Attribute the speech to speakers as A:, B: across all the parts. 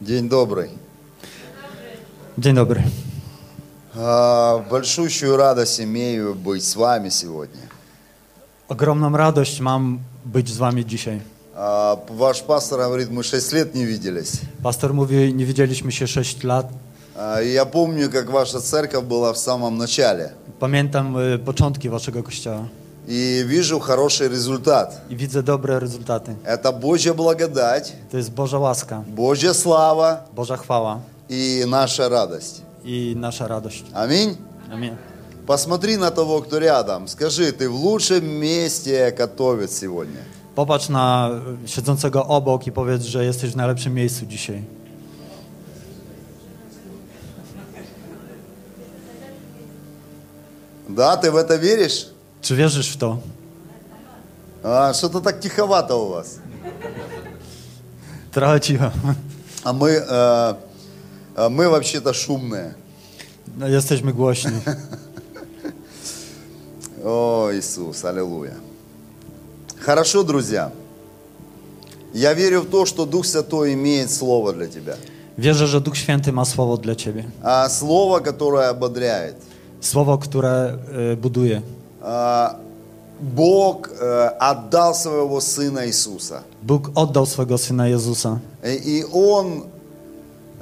A: День добрый.
B: Dzień dobry.
A: А, Большущую радость имею быть с вами сегодня.
B: Ogromną radość mam być z wami dzisiaj.
A: А, Ваш пастор говорит, мы шесть лет не виделись.
B: Pastor mówi, nie widzieliśmy się 6 lat.
A: А, и Я помню, как ваша церковь была в самом начале.
B: Pamiętam y, początki waszego kościoła
A: И вижу хороший результат.
B: i widzę dobre rezultaty.
A: Это Божья благодать,
B: To jest Boża łaska,
A: Божья слава
B: Boża chwała
A: и наша радость.
B: i nasza radość.
A: Аминь.
B: Amen.
A: Посмотри на того, кто рядом. Скажи, ты в лучшем месте готовит сегодня.
B: Popatrz na y, siedzącego obok i powiedz, że jesteś w najlepszym miejscu dzisiaj.
A: Да, ты в это веришь?
B: Czy wierzysz w to?
A: А, что-то так тиховато у вас.
B: Trochę cicho.
A: А мы, э, а мы вообще-то шумные.
B: No, jesteśmy głośni.
A: О, Иисус, аллилуйя. Хорошо, друзья. Я верю в то, что Дух Святой имеет слово для тебя.
B: Wierzę, że Duch Święty ma słowo dla ciebie.
A: А, слово, которое ободряет.
B: Słowo, które y, buduje.
A: А, Бог э, отдал своего Сына Иисуса.
B: Bóg oddał swego syna Jezusa
A: И и Он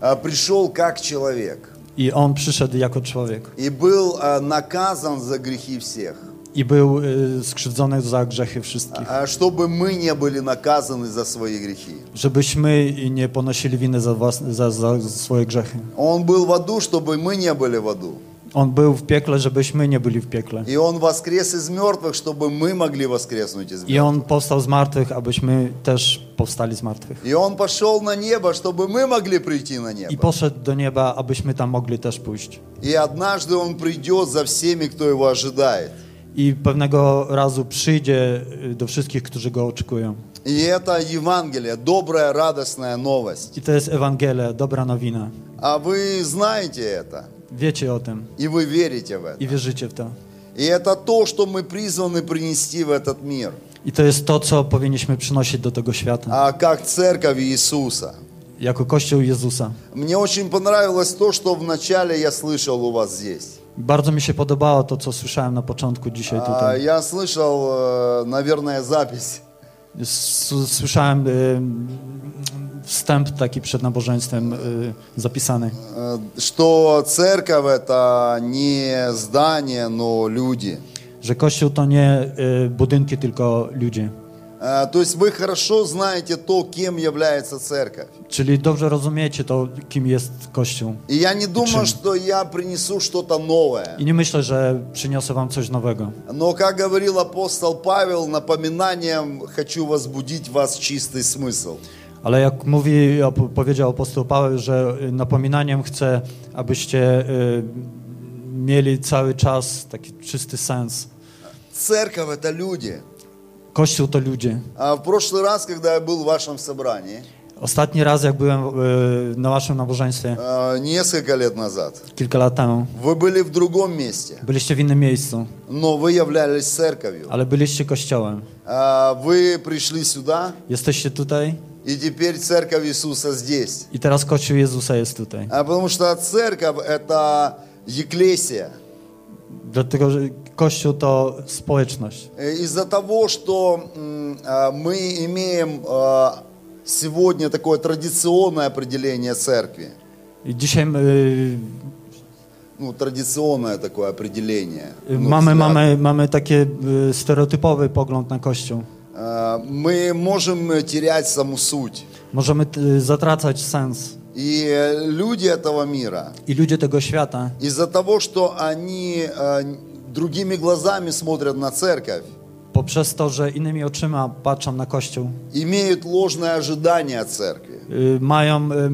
A: а, пришел как человек.
B: i on przyszedł jako człowiek
A: И был а, наказан за грехи всех.
B: i był y, skrzywdzony za grzechy wszystkich,
A: а, Чтобы мы не были наказаны за свои грехи.
B: żebyśmy i nie ponosili winy za, własne, za, za swoje grzechy.
A: Он был в аду, чтобы мы не были в аду.
B: On był w piekle, żebyśmy nie byli w piekle.
A: И Он воскрес из мертвых, чтобы мы могли воскреснуть из
B: I
A: мертвых.
B: on powstał z martwych, abyśmy też powstali z martwych.
A: И Он пошел на небо, чтобы мы могли прийти на
B: I
A: небо.
B: poszedł do nieba, abyśmy tam mogli też pójść.
A: И однажды Он придет за всеми, кто Его ожидает.
B: I pewnego razu przyjdzie y, do wszystkich, którzy go oczekują.
A: И это Евангелие, добрая, радостная новость.
B: I to jest Ewangelia, dobra nowina.
A: А вы знаете это,
B: Wiecie o tym
A: и вы верите в это.
B: i wierzycie w to.
A: И это то, что мы призваны принести в этот мир,
B: I to jest to, co powinniśmy przynosić do tego świata,
A: а как церковь Иисуса.
B: jako Kościół Jezusa.
A: Мне очень понравилось то, что вначале я слышал у вас здесь.
B: Bardzo mi się podobało to, co słyszałem na początku dzisiaj
A: А,
B: tutaj.
A: Я слышал, э, наверное, запись.
B: S- Słyszałem y, wstęp taki przed nabożeństwem y, zapisany,
A: э, Что церковь это не здание, но люди.
B: że Kościół to nie y, budynki, tylko ludzie.
A: Э, То есть вы хорошо знаете то, кем является церковь.
B: Czyli dobrze rozumiecie to, kim jest Kościół.
A: И я не думаю,
B: Причем-
A: что я принесу что-то новое.
B: I nie myślę, że przyniosę wam coś nowego.
A: Но, как говорил апостол Павел, напоминанием хочу возбудить в вас чистый smysł.
B: Ale jak mówi, op- powiedział apostoł Paweł, że y, napominaniem chcę, abyście y, mieli cały czas taki czysty sens.
A: Церковь это люди.
B: Kościół to ludzie.
A: А в прошлый раз, когда я был в вашем собрании,
B: Ostatni raz, jak byłem y, na waszym nabożeństwie,
A: э, nесколько лет назад,
B: kilka lat temu,
A: вы были в другом месте,
B: byliście w innym miejscu,
A: но вы являлись церковью.
B: ale byliście kościołem.
A: А, Вы prишли сюда,
B: Jesteście tutaj
A: и теперь церковь Иисуса здесь.
B: i teraz Kościół Jezusa jest tutaj.
A: А Потому что церковь это еклесия.
B: Dlatego, że Kościół to społeczność.
A: Э, Из-за того, что м, а, мы имеем а, сегодня такое традиционное определение церкви,
B: I dzisiaj y,
A: ну, традиционное такое определение,
B: y,
A: ну,
B: mamy,
A: взгляд.
B: mamy, mamy taki y, stereotypowy pogląd na Kościół.
A: А, мы можем терять саму суть.
B: Możemy y, zatracać sens.
A: И э, люди этого мира,
B: I ludzie tego świata,
A: из-за того, что они э, другими глазами смотрят на церковь,
B: poprzez to, że innymi oczyma patrzą na Kościół, e,
A: имеют ложное ожидание от церкви.
B: y, mają y,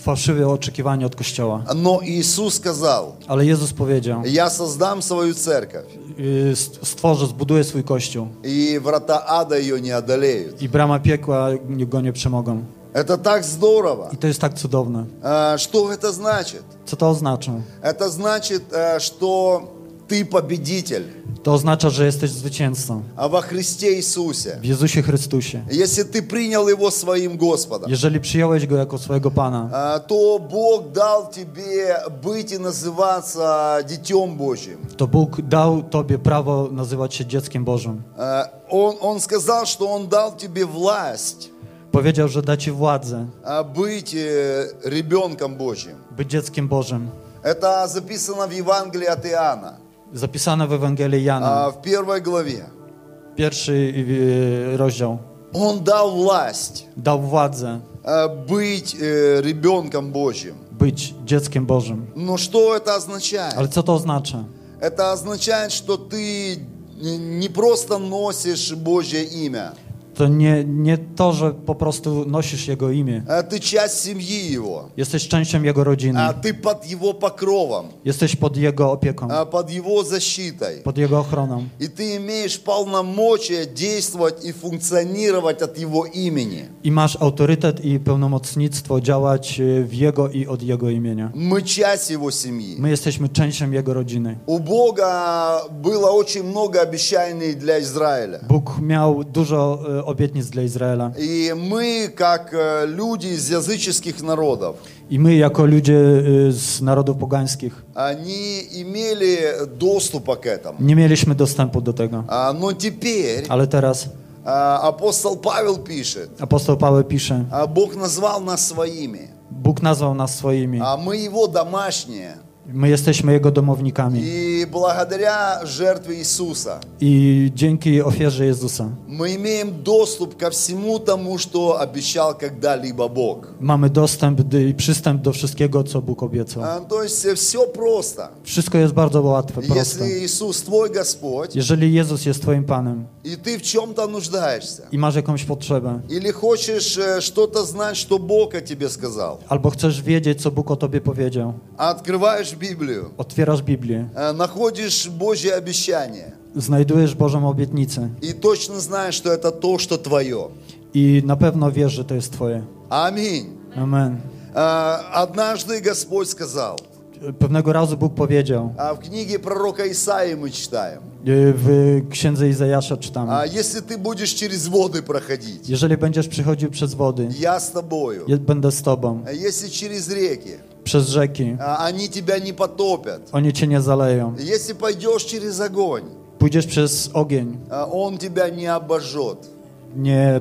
B: fałszywe oczekiwania od Kościoła.
A: Но Иисус сказал,
B: Ale Jezus powiedział,
A: я создам свою церковь,
B: y, st- stworzę, zbuduję swój Kościół
A: и врата ада ее не одолеют.
B: i brama piekła go nie przemogą.
A: Это так здорово.
B: I to jest tak cudowne.
A: Э, Что это значит?
B: Co to oznacza?
A: Это значит, э, что ты победитель,
B: To oznacza, że jesteś zwycięzcą
A: а во Христе Иисусе.
B: w Jezusie Chrystusie.
A: Если ты принял Его своим Господом,
B: Jeżeli przyjąłeś Go jako swojego Pana,
A: а, то Бог дал тебе быть и называться Детем Божьим.
B: to Bóg dał Tobie prawo nazywać się dzieckiem Bożym.
A: А, Он, он сказал, что Он дал тебе власть
B: Powiedział, że da Ci władzę
A: а, быть э, ребенком Божьим.
B: być dzieckiem Bożym.
A: Это записано в Евангелии от Иоанна,
B: Zapisane w Ewangelii Jana,
A: а, в первой главе.
B: pierwszy e, rozdział.
A: Он дал власть
B: Dał władzę
A: а, быть э, ребенком Божьим.
B: być dzieckiem Bożym.
A: Но что это
B: Ale
A: означает?
B: co to oznacza?
A: Это означает, что ты не просто носишь Божье имя,
B: To nie, nie to, że po prostu nosisz Jego imię.
A: а ты часть семьи Его,
B: Jesteś częścią Jego rodziny.
A: а ты под Его покровом,
B: Jesteś pod Jego opieką,
A: а под Его защитой.
B: pod Jego ochroną.
A: И ты имеешь полномочия действовать и функционировать от Его имени.
B: I masz autorytet i pełnomocnictwo działać e, w Jego i od Jego imienia.
A: Мы часть Его семьи.
B: My jesteśmy częścią Jego rodziny.
A: У Бога было очень много обещаний для Израиля.
B: Bóg miał dużo e, obietnic dla Izraela.
A: И мы, как э, люди из языческих народов,
B: I my, jako ludzie e, z narodów pogańskich,
A: они имели доступа к этому.
B: nie mieliśmy dostępu do tego.
A: А, Но теперь
B: Ale teraz
A: а, апостол Павел пишет,
B: apostoł Paweł pisze:
A: а, Бог назвал нас своими,
B: Bóg nazwał nas swoimi.
A: а мы Его домашние.
B: My jesteśmy Jego domownikami.
A: И благодаря жертве Иисуса
B: I dzięki ofierze Jezusa
A: мы имеем доступ ко всему тому, что обещал когда-либо Бог.
B: mamy dostęp do- i przystęp do wszystkiego, co Bóg obiecał.
A: А, То есть все просто.
B: Wszystko jest bardzo łatwe, proste.
A: Если Иисус твой Господь,
B: Jeżeli Jezus jest Twoim Panem
A: и ты в чем-то нуждаешься,
B: i masz jakąś potrzebę,
A: Или хочешь э, что-то знать, что Бог о тебе сказал? а
B: albo chcesz wiedzieć, co Bóg o Tobie powiedział,
A: Открываешь Библию,
B: otwierasz Biblię,
A: э, naходишь Божье обещание
B: znajdujesz Bożą obietnicę
A: и точно знаешь, что это то, что твое.
B: i na pewno wiesz, że to jest Twoje.
A: Аминь.
B: Amen.
A: Э, Однажды Господь сказал,
B: Pewnego razu Bóg powiedział,
A: а в книге пророка Исаии мы читаем,
B: y, w Księdze Izajasza czytamy,
A: а если ты будешь через воды проходить,
B: jeżeli będziesz przychodził przez wody,
A: я с тобою.
B: ja będę z Tobą,
A: А Если через реки,
B: przez rzeki,
A: а, они тебя не потопят.
B: oni Cię nie zaleją.
A: Если пойдешь через огонь,
B: Pójdziesz przez ogień,
A: а, он тебя не обожжет.
B: nie,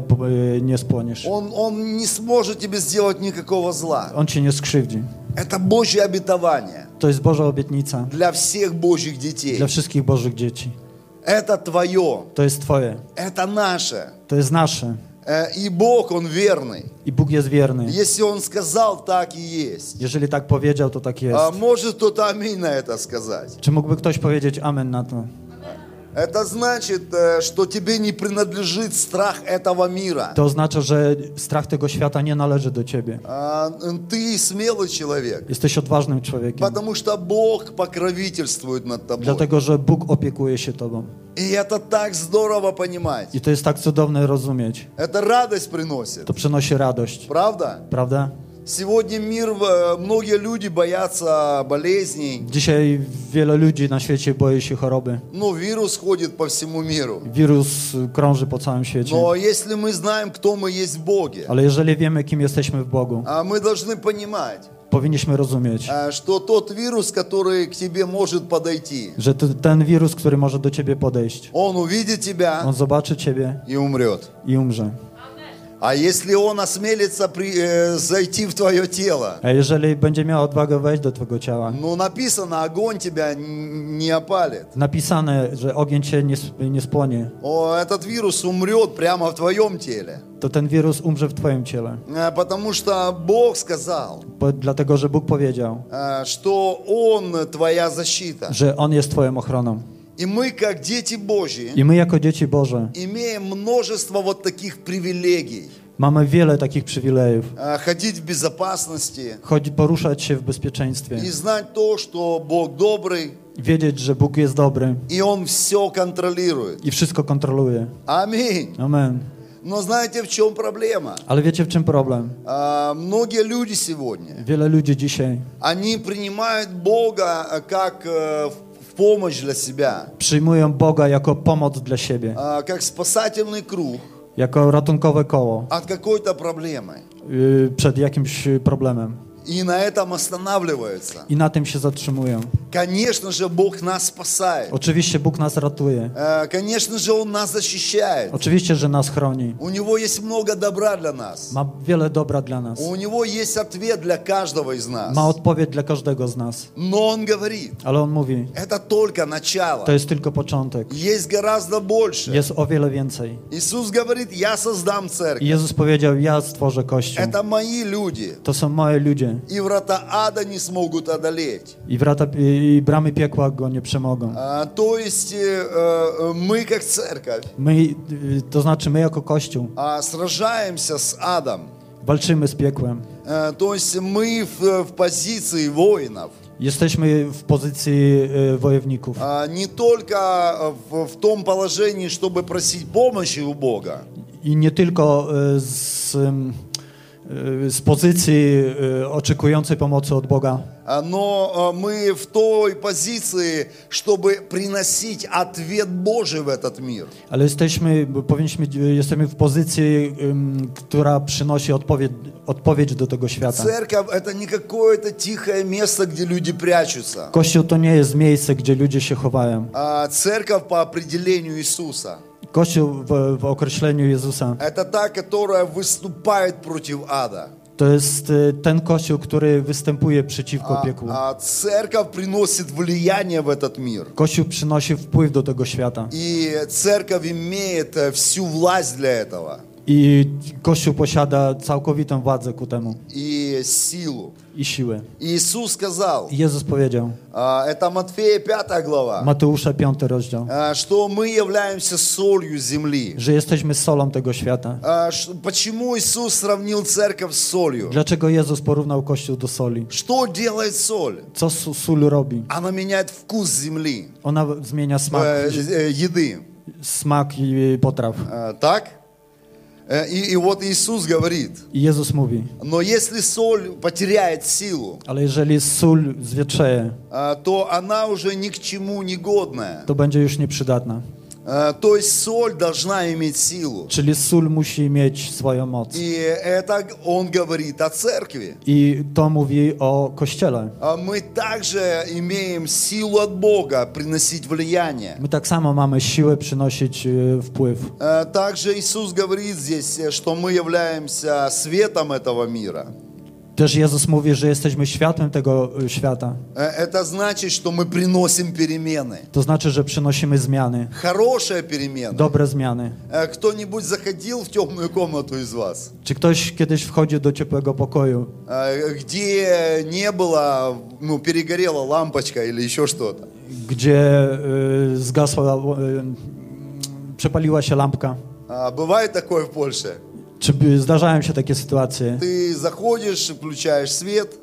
B: y, nie spłoniesz.
A: Он, он не сможет тебе сделать никакого зла.
B: On Cię nie skrzywdzi.
A: Это Божье обетование
B: To jest Boża obietnica
A: для всех Божьих детей.
B: dla wszystkих Bożych dzieci.
A: Это твое,
B: To jest Twoje.
A: это наше.
B: To jest nasze.
A: Э, И Бог, Он верный.
B: I Bóg jest wierny.
A: Если Он сказал, так и есть.
B: Jeżeli tak powiedział, to tak jest.
A: А может кто-то аминь на это сказать.
B: Czy mógłby ktoś powiedzieć amen na to?
A: Это значит, э, что тебе не принадлежит страх этого мира.
B: To oznacza, że strach tego świata nie należy do ciebie.
A: А, н- Ты смелый человек,
B: Jesteś odważnym człowiekiem.
A: потому что Бог покровительствует над тобой.
B: Dlatego, że Bóg opiekuje się tobą.
A: И это так здорово понимать.
B: I to jest tak cudowne rozumieć.
A: Это радость приносит.
B: To przynosi radość.
A: Правда?
B: Prawda?
A: Сегодня мир, э, многие люди боятся болезней.
B: Dzisiaj wiele ludzi na świecie boi się choroby.
A: Ну, вирус ходит по всему миру.
B: Wirus krąży po całym świecie.
A: Но если мы знаем, кто мы есть в Боге,
B: Ale jeżeli wiemy, kim jesteśmy w Bogu,
A: а мы должны понимать,
B: powinniśmy rozumieć,
A: а, что тот вирус, который к тебе может подойти,
B: że ty, ten wirus, który może do ciebie podejść,
A: он увидит тебя
B: on zobaczy ciebie
A: и умрет.
B: i umrze.
A: А если он осмелится при- э, зайти в твое тело,
B: A jeżeli będzie miał odwagę wejść do twojego ciała,
A: ну, написано, огонь тебя н- не опалит.
B: napisane, że ogień cię nie, sp- nie spłonie,
A: О, этот вирус умрет прямо в твоем теле.
B: to ten wirus umrze w twoim ciele.
A: Э, Потому что Бог сказал,
B: Bo, dlatego, że Bóg powiedział,
A: а, что Он твоя защита.
B: że On jest twoją ochroną.
A: И мы, как дети Божьи,
B: I my jako dzieci Boże
A: имеем множество вот таких привилегий.
B: mamy wiele takich przywilejów.
A: А, Ходить в безопасности
B: Choć poruszać się w bezpieczeństwie,
A: и знать то, что Бог добрый,
B: wiedzieć, że Bóg jest dobry
A: и Он все контролирует.
B: i wszystko kontroluje.
A: Аминь.
B: Amen.
A: Но знаете, в чем проблема?
B: Ale wiecie w czym problem?
A: А, Многие люди сегодня,
B: Wiele ludzi dzisiaj
A: они принимают Бога э, а, как э, в в помощь для себя,
B: Przyjmuję Boga jako pomoc dla siebie,
A: а, как spasательный круг
B: jako ratunkowe koło
A: от какой-то проблемы.
B: y, przed jakimś y, problemem.
A: И на этом останавливаются.
B: I na tym się zatrzymuję.
A: Конечно же, Бог нас спасает.
B: Oczywiście Bóg nas ratuje.
A: Э, Конечно же, Он нас защищает.
B: Oczywiście, że nas chroni.
A: У Него есть много добра для нас.
B: Ma wiele dobra dla nas.
A: У Него есть ответ для каждого из нас.
B: Ma odpowiedź dla każdego z nas.
A: Но Он говорит,
B: Ale on mówi,
A: это только начало.
B: to jest tylko początek.
A: Есть гораздо больше.
B: Jest o wiele więcej.
A: Иисус говорит, я создам
B: I
A: церковь.
B: Jezus powiedział, ja stworzę Kościół.
A: Это мои люди.
B: To są moje ludzie.
A: И врата ада не смогут одолеть.
B: I, wrata, i, i bramy piekła go nie przemogą.
A: А, то есть э, э, мы как церковь
B: My, y, to znaczy my jako Kościół
A: а, сражаемся с адом.
B: walczymy z piekłem.
A: Э, то есть мы в, в позиции воинов.
B: Jesteśmy w pozycji y, wojowników.
A: А, не только в, в том положении, чтобы просить помощи у Бога,
B: I nie tylko y, z, ym, y, z pozycji y, oczekującej pomocy od Boga,
A: а, но а, мы в той позиции, чтобы приносить ответ Божий в этот мир.
B: ale jesteśmy, bo powinniśmy, jesteśmy w pozycji, ym, która przynosi odpowiedź, odpowiedź do tego świata.
A: Церковь это не какое-то тихое место, где люди прячутся.
B: Kościół to nie jest miejsce, gdzie ludzie się chowają.
A: А, Церковь по определению Иисуса.
B: Kościół w, w określeniu Jezusa
A: Это та, которая wystупает против ада.
B: to jest y, ten kościół, który występuje przeciwko
A: А,
B: piekłu.
A: а церковь приносит влияние в этот мир.
B: Kościół przynosi wpływ do tego świata
A: И церковь имеет э, всю власть для этого.
B: i Kościół posiada całkowitą władzę ku temu
A: И силу.
B: i siłę.
A: И Иисус сказал,
B: I Jezus powiedział,
A: а, это Матфея 5 глава,
B: Mateusza 5 rozdział,
A: а, что мы являемся солью земли.
B: że jesteśmy solą tego świata.
A: А, ш- Почему Иисус сравнил церковь с солью?
B: Dlaczego Jezus porównał Kościół do soli?
A: Что делает соль?
B: Co su- sól robi?
A: Она меняет вкус земли,
B: Ona zmienia smak,
A: э, э, еды.
B: smak i potraw.
A: Э, Так? Э, И, и вот Иисус говорит,
B: I Jezus mówi,
A: но если соль потеряет силу,
B: ale jeżeli sól zwietrzeje,
A: а, то она уже ни к чему не годная.
B: to będzie już nieprzydatna.
A: А, То есть соль должна иметь силу.
B: Czyli sól musi mieć swoją moc.
A: И это г- он говорит о церкви.
B: I to mówi o Kościele.
A: А Мы также имеем силу от Бога приносить влияние.
B: My tak samo mamy siłę przynosić y, wpływ.
A: А, Также Иисус говорит здесь, э, что мы являемся светом этого мира.
B: Też Jezus mówi, że jesteśmy światłem tego y, świata.
A: Э, Это значит, что мы приносим перемены.
B: To znaczy, że przynosimy zmiany,
A: Хорошая перемена.
B: dobre zmiany.
A: Э, Кто-нибудь заходил в темную комнatу из вас,
B: Czy ktoś kiedyś wchodzi do ciepłego pokoju,
A: э, где не было, ну, перегорела лампочка или еще что-то?
B: gdzie y, zgasła, y, przepaliła się lampka?
A: А, Бывает такое в Польше?
B: Czy by- zdarzają się takie sytuacje?
A: Ты заходишь, включаешь свет,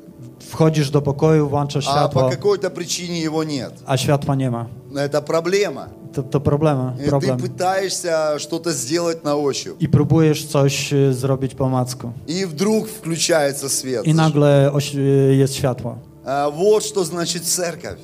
B: Wchodzisz do pokoju, włączasz
A: а по
B: światło,
A: какой-то причине его нет.
B: a światła nie ma.
A: Это проблема.
B: To, to problem,
A: И ты
B: problem.
A: пытаешься что-то сделать на ощупь.
B: I próbujesz coś y, zrobić po macku.
A: И вдруг включается свет.
B: I nagle oś- y, jest światło.
A: А, вот что значит церковь.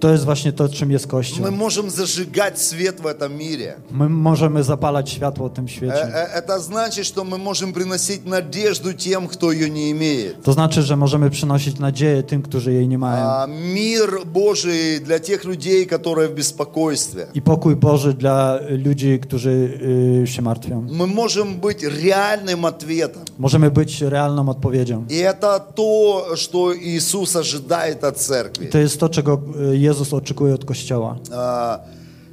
B: To jest właśnie to, czym jest Kościół.
A: Мы можем zажигать свет в этом мире.
B: My możemy zapalać światło w tym
A: Э,
B: świecie.
A: э, Это значит, что мы можем приносить надежду тем, кто ее не имеет.
B: To znaczy, że możemy przynosić nadzieję tym, którzy jej nie mają.
A: А, Мир Божий для тех людей, которые в беспокойстве.
B: I pokój Boży dla ludzi, którzy y, się martwią.
A: Мы можем быть реальным ответом.
B: Możemy być realną odpowiedzią.
A: И это то, что Иисус ожидает от церкви.
B: To jest to, czego y, Jezus oczekuje od Kościoła.
A: А,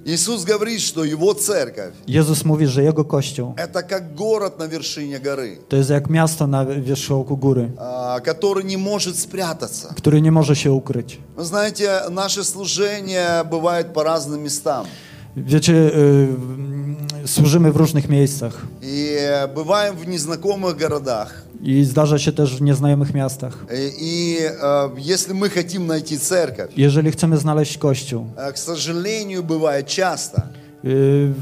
A: Иисус говорит, что Его церковь
B: Jezus mówi, że Jego Kościół
A: – это как город на вершине горы,
B: to jest jak miasto na wierzchołku góry,
A: а, который не может спрятаться.
B: które nie może się ukryć.
A: Вы знаете, наше служение бывает по разным местам.
B: Wiecie, y, mm, służymy w różnych miejscach
A: И э, бываем в незнакомых городах.
B: i зdarza się też w nieznajomych miastach.
A: И, и, э, если мы хотим найти церковь,
B: Jeżeli chcemy znaleźć Kościół,
A: э, к сожалению, бывает часто,
B: y,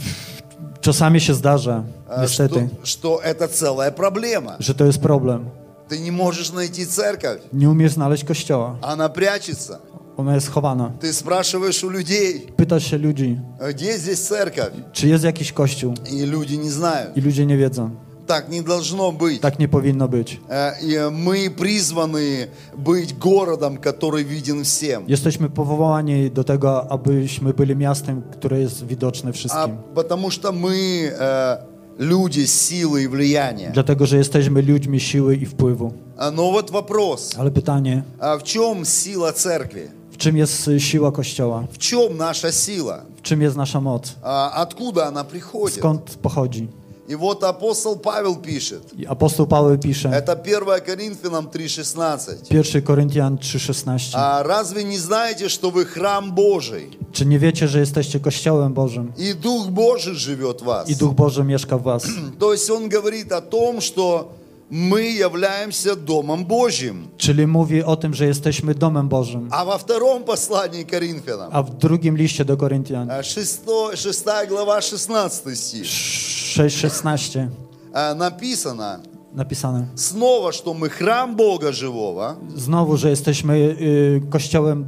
B: czasami się zdarza,
A: э, что,
B: niestety,
A: что это целая проблема.
B: że to jest problem.
A: Ты не можешь найти церковь,
B: Nie umiesz znaleźć Kościoła.
A: она прячется.
B: Ona jest chowana.
A: Ты спрашиваешь у людей,
B: Pyta się ludzi,
A: «А где здесь церковь?
B: czy jest jakiś kościół
A: И люди не знают.
B: i ludzie nie wiedzą.
A: Так не должно быть.
B: Tak nie powinno być.
A: Э, и Мы призваны быть городом, который виден всем.
B: Jesteśmy powołani do tego, abyśmy byli miastem, które jest widoczne
A: А
B: wszystkim.
A: потому что мы э, люди силы и влияния.
B: Dlatego, że jesteśmy ludźmi siły i wpływu.
A: А, Но вот вопрос,
B: Ale pytanie,
A: а в чем сила церкви?
B: w czym jest y, siła Kościoła?
A: В чем наша сила?
B: W czym jest nasza moc?
A: А Откуда она приходит?
B: Skąd pochodzi?
A: И вот апостол Павел пишет,
B: I apostoł Paweł pisze,
A: это 1 Коринфянам 3,16.
B: 1 Koryntian 3,16
A: А разве не знаете, что вы храм Божий,
B: Czy nie wiecie, że jesteście Kościołem Bożym
A: и Дух Божий живет в вас?
B: i Duch Boży mieszka w was?
A: То есть он говорит о том, что мы являемся Домом Божьим.
B: Czyli mówi o tym, że jesteśmy domem Bożym.
A: А во втором послании к Коринфянам,
B: A w drugim liście do Koryntian
A: а, шестой- шестая глава, 16 стих,
B: 6,16
A: а, написано
B: napisane.
A: снова, что мы храм Бога живого,
B: Znowu, że jesteśmy y, kościołem,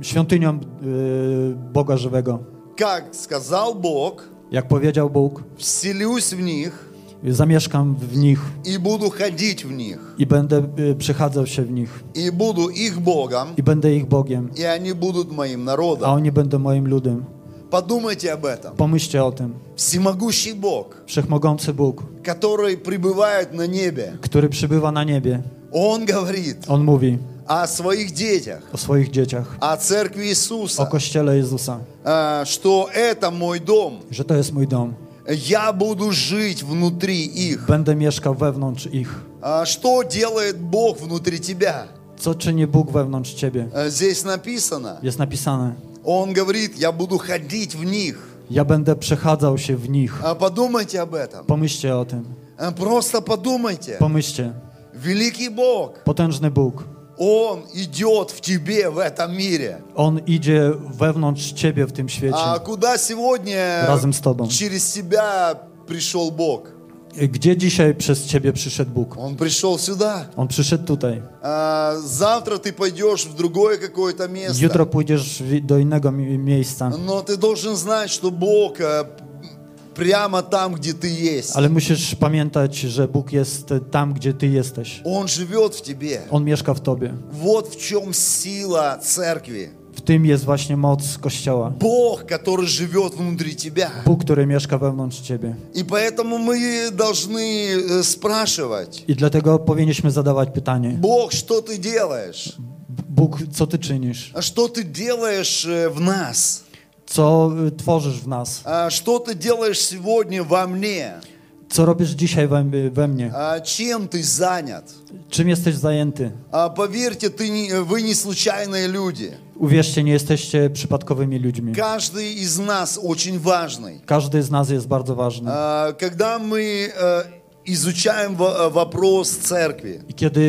B: y, świątynią y, Boga żywego.
A: как сказал Бог,
B: Jak powiedział Bóg,
A: вселюсь в них
B: zamieszkam w nich
A: и буду ходить в них,
B: i będę y, przychadzał się w nich
A: и буду их Богом,
B: i będę ich Bogiem,
A: и они будут моим
B: a
A: народом.
B: oni będą moim ludem.
A: Подумайте об этом.
B: Pomyślcie o tym.
A: Всемогущий Бог,
B: Wszechmogący Bóg,
A: который пребывает на небе,
B: który przybywa na niebie,
A: Он говорит
B: on mówi
A: о своих детях,
B: o swoich dzieciach,
A: о церкви
B: o
A: Иисуса,
B: kościele Jezusa,
A: э, что это мой дом,
B: że to jest mój dom.
A: я буду жить внутри их.
B: Będę mieszkał wewnątrz ich.
A: А Что делает Бог внутри тебя?
B: Co czyni Bóg wewnątrz ciebie?
A: Э, Здесь написано,
B: Jest napisane.
A: Он говорит, я буду ходить в них.
B: Ja będę przechadzał się w nich.
A: А Подумайте об этом.
B: Pomyślcie o tym.
A: Э, Просто подумайте.
B: Pomyślcie.
A: Великий Бог,
B: Potężny Bóg.
A: Он идет в тебе в этом мире.
B: On idzie wewnątrz ciebie w tym świecie.
A: А куда сегодня
B: Разом с тобой.
A: через тебя пришел Бог?
B: Gdzie dzisiaj przez ciebie przyszedł Bóg?
A: Он пришел сюда.
B: On przyszedł tutaj.
A: А завтра ты пойдешь в другое какое-то место.
B: Jutro pójdziesz w- do innego mi- miejsca,
A: Но ты должен знать, что Бог э, прямо там, где ты есть.
B: ale musisz pamiętać, że Bóg jest tam, gdzie ty jesteś.
A: Он живет в тебе.
B: On mieszka w tobie.
A: Вот в чем сила церкви.
B: W tym jest właśnie moc Kościoła.
A: Бог, который живет внутри тебя.
B: Bóg, który mieszka wewnątrz ciebie.
A: И поэтому мы должны э, спрашивать.
B: I dlatego powinniśmy zadawać pytanie.
A: Бог, что ты делаешь?
B: Bóg, co ty czynisz?
A: А Что ты делаешь э, в нас?
B: Co y, tworzysz w nas?
A: А Что ты делаешь сегодня во мне?
B: Co robisz dzisiaj we, we mnie?
A: А Чем ты занят?
B: Czym jesteś zajęty?
A: А Поверьте, ты не, э, вы не случайные люди.
B: Uwierzcie, nie jesteście przypadkowymi ludźmi.
A: Каждый из нас очень важный.
B: Każdy z nas jest bardzo ważny.
A: А Когда мы э, изучаем во- э, вопрос церкви,
B: I kiedy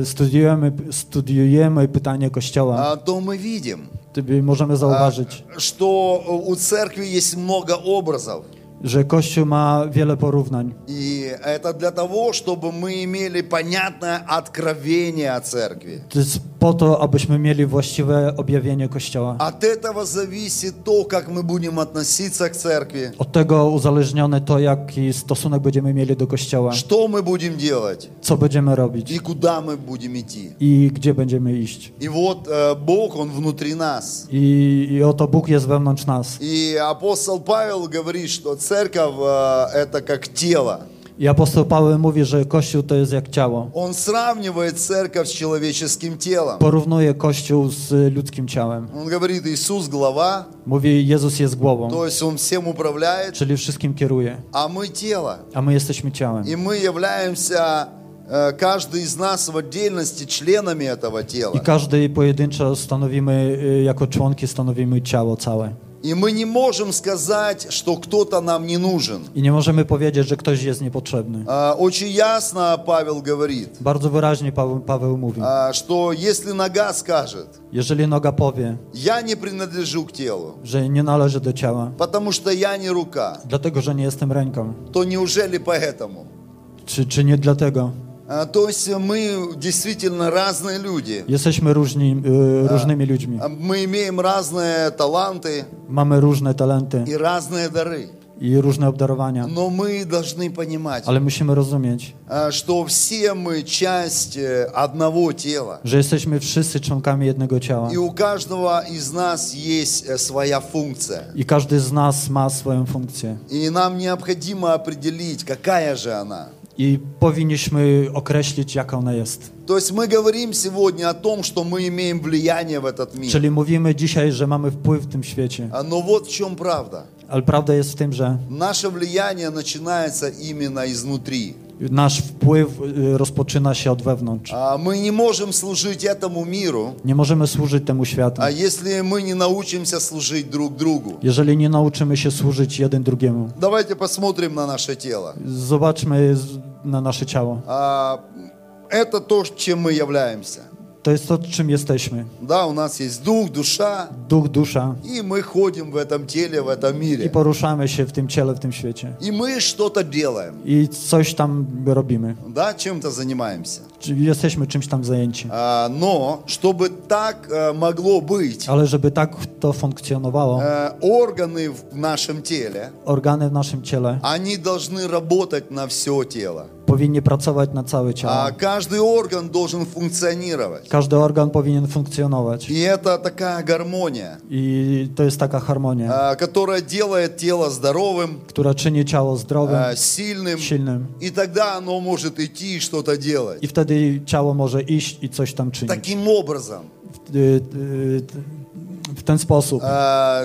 B: y, studiujemy, studiujemy pytanie Kościoła,
A: а, то мы видим,
B: to możemy zauważyć,
A: что у церкви есть много образов.
B: że Kościół ma wiele porównań.
A: И это для того, чтобы мы имели понятное откровение о церкви.
B: To jest po to, abyśmy mieli właściwe objawienie Kościoła.
A: От этого зависит то, как мы будем относиться к церкви,
B: Od tego uzależnione to, jaki stosunek będziemy mieli do Kościoła,
A: что мы будем делать
B: co będziemy robić
A: и куда мы будем идти.
B: i gdzie będziemy iść.
A: И вот э, Бог, Он внутри нас.
B: I, I oto Bóg jest wewnątrz nas.
A: И апостол Павел говорит, что церковь э, это как тело.
B: I apostoł Paweł mówi, że Kościół to jest jak ciało.
A: Он сравнивает церковь с человеческим телом.
B: Porównuje Kościół z ludzkim ciałem.
A: Он говорит, Иисус глава,
B: Mówi, Jezus jest głową,
A: то есть Он всем управляет,
B: czyli wszystkim kieruje,
A: а мы тело.
B: a my jesteśmy ciałem.
A: И мы являемся, э, каждый из нас в отдельности членами этого
B: I
A: тела.
B: każdy pojedynczo stanowimy, y, jako członki stanowimy ciało całe.
A: И мы не можем сказать, что кто-то нам не нужен.
B: I nie możemy powiedzieć, że ktoś jest niepotrzebny.
A: А, Очень ясно Павел говорит,
B: Bardzo wyraźnie Paweł, Paweł mówi,
A: а, что если нога скажет,
B: jeżeli noga powie,
A: я не принадлежу к телу,
B: że nie należy do ciała,
A: потому что я не рука,
B: dlatego, że nie jestem ręką.
A: то неужели поэтому?
B: Czy, czy nie dlatego?
A: А, А, То есть мы действительно разные люди.
B: Jesteśmy różni, y, różnymi ludźmi.
A: А, Мы имеем разные таланты
B: Mamy różne talenty
A: и разные дары.
B: i różne obdarowania,
A: Но мы должны понимать,
B: ale musimy rozumieć,
A: а, что все мы часть э, одного тела.
B: że jesteśmy wszyscy członkami jednego ciała
A: И у каждого из нас есть э, своя функция.
B: i każdy z nas ma swoją funkcję.
A: И нам необходимо определить, какая же она.
B: I powinniśmy określić, jaka ona jest.
A: То есть мы говорим сегодня о том, что мы имеем влияние в этот мир.
B: Czyli mówimy dzisiaj, że mamy wpływ w tym świecie,
A: А, Но вот в чем правда.
B: ale prawda jest w tym, że
A: Наше влияние начинается именно изнутри.
B: nasz wpływ y, rozpoczyna się od wewnątrz.
A: А, Мы не можем служить этому миру,
B: Nie możemy służyć temu światu,
A: а если мы не научимся служить друг другу.
B: jeżeli nie nauczymy się służyć jeden drugiemu.
A: Давайте посмотрим на наше тело.
B: Zobaczmy z- na nasze ciało.
A: А, Это то, чем мы являемся.
B: To jest to, czym jesteśmy.
A: Да, у нас есть дух, душа,
B: Duch, dusza
A: и мы ходим в этом теле, в этом
B: i
A: мире.
B: poruszamy się w tym ciele, w tym świecie.
A: И мы что-то делаем,
B: I coś tam robimy.
A: да, чем-то занимаемся.
B: Czy Jesteśmy czymś tam zajęci.
A: А, Но чтобы так э, могло быть,
B: Ale żeby tak to funkcjonowało,
A: э, органы в нашем теле,
B: organy w naszym ciele
A: они должны работать на все тело.
B: powinny pracować na całe
A: А
B: ciało.
A: каждый орган должен функционировать.
B: Każdy organ powinien funkcjonować.
A: И это такая гармония,
B: I to jest taka harmonia,
A: а, которая делает тело здоровым,
B: która czyni ciało zdrowym,
A: а, сильным,
B: silnym.
A: и тогда оно может идти и что-то
B: I
A: делать.
B: wtedy ciało może iść i coś tam czynić.
A: Таким образом,
B: W- y- y- W ten sposób.
A: а,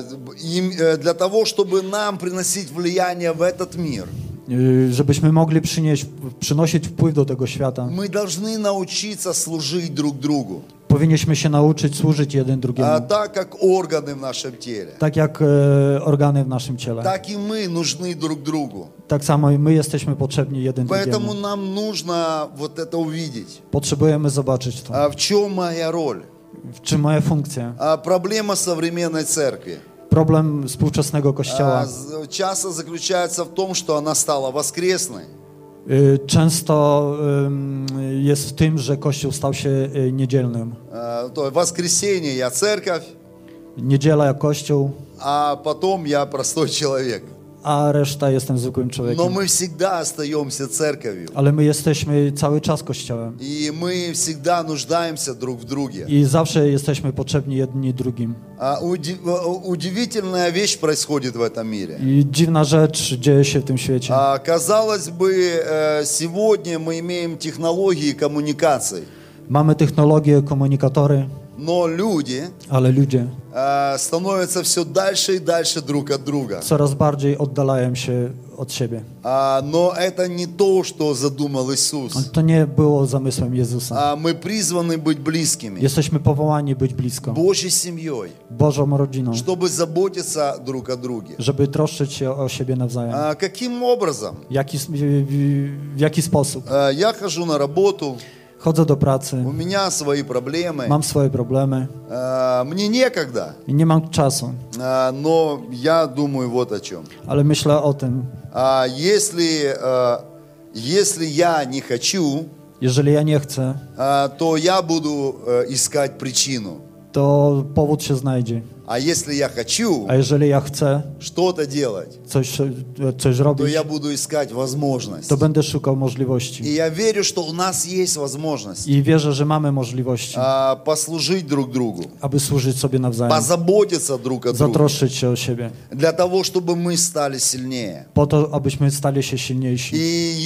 A: им, э, для того, чтобы нам приносить влияние в этот мir,
B: Y, żebyśmy mogli przynieść, przynosić wpływ do tego świata.
A: мы должны научиться служить друг другу,
B: Powinniśmy się nauczyć służyć jeden
A: а,
B: drugiemu,
A: так как органы в нашем теле,
B: tak jak e, organy w naszym ciele.
A: так и мы нужны друг другу.
B: Tak samo i my jesteśmy potrzebni jeden
A: Поэтому
B: drugiemu.
A: нам нужно вот это увидеть.
B: Potrzebujemy zobaczyć to.
A: А в чем моя роль?
B: W czym moja funkcja?
A: А проблема современной церкви
B: Problem współczesnego
A: а,
B: kościoła
A: з- часто заключается в том, что она стала воскресной,
B: y, często ym, jest w tym, że kościół stał się y, niedzielnym.
A: А, то есть воскресенье я церковь,
B: Niedziela jak kościół,
A: а потом я простой человек.
B: a reszta jestem zwykłym
A: Но
B: człowiekiem.
A: мы всегда остаемся церковью,
B: Ale my jesteśmy cały czas kościołem
A: и мы всегда нуждаемся друг в друге.
B: i zawsze jesteśmy potrzebni jedni drugim.
A: А, уди- а, удивительная вещь происходит в этом мире.
B: I dziwna rzecz dzieje się w tym świecie.
A: А, казалось бы, э, сегодня мы имеем технологии коммуникаций,
B: Mamy technologie, komunikatory,
A: но люди
B: ale ludzie
A: э, становятся все дальше и дальше друг от друга.
B: coraz bardziej oddalają się od siebie.
A: А, но это не то, что задумал Иисус.
B: To nie było zamysłem Jezusa.
A: А, мы призваны быть близкими,
B: Jesteśmy powołani być blisko,
A: Божьей семьей,
B: Bożą rodziną,
A: чтобы заботиться друг о друге.
B: żeby troszczyć się o siebie nawzajem.
A: А, каким образом?
B: Jaki, s- w- w- w jaki sposób?
A: А, я хожу на работу,
B: Chodzę do pracy,
A: у меня свои проблемы,
B: mam swoje problemy
A: а, мне некогда,
B: i nie mam czasu,
A: а, но я думаю вот о чем.
B: ale myślę o tym.
A: А, если, а, если я не хочу,
B: Jeżeli ja nie chcę,
A: а, то я буду э, искать причину.
B: to powód się znajdzie.
A: А если я хочу
B: A jeżeli ja chcę
A: что-то делать,
B: coś, coś
A: то
B: robić,
A: я буду искать возможность.
B: to będę szukał
A: И
B: możliwości.
A: я верю, что у нас есть возможность
B: I wierzę, że mamy możliwości,
A: а, послужить друг другу,
B: aby służyć sobie nawzajem,
A: позаботиться друг о друге,
B: zatroszczyć się o siebie,
A: для того, чтобы мы стали сильнее.
B: po to, abyśmy stali się
A: И
B: silniejsi.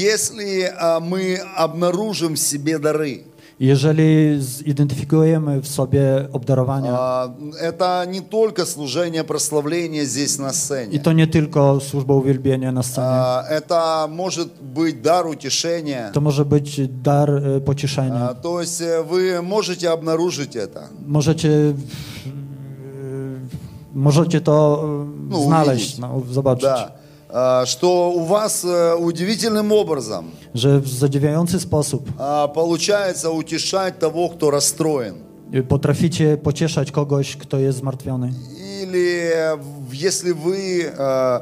A: если а, мы обнаружим в себе дары,
B: Jeżeli zidentyfikujemy w sobie obdarowania,
A: а, это не только служение прославления здесь на
B: i
A: сцене,
B: to nie tylko służba uwielbienia na scenie,
A: А, это может быть дар утешения.
B: to może być dar e, pocieszenia.
A: А, То есть э, вы можете обнаружить это.
B: Możecie, e, możecie to e,
A: No,
B: znaleźć,
A: uwidzieć.
B: no, zobaczyć,
A: Да. А, Что у вас э, удивительным образом
B: że w zadziwiający sposób
A: а, получается утешать того, кто расстроен.
B: e, potraficie pocieszać kogoś, kto jest zmartwiony.
A: Или э, в- если вы э,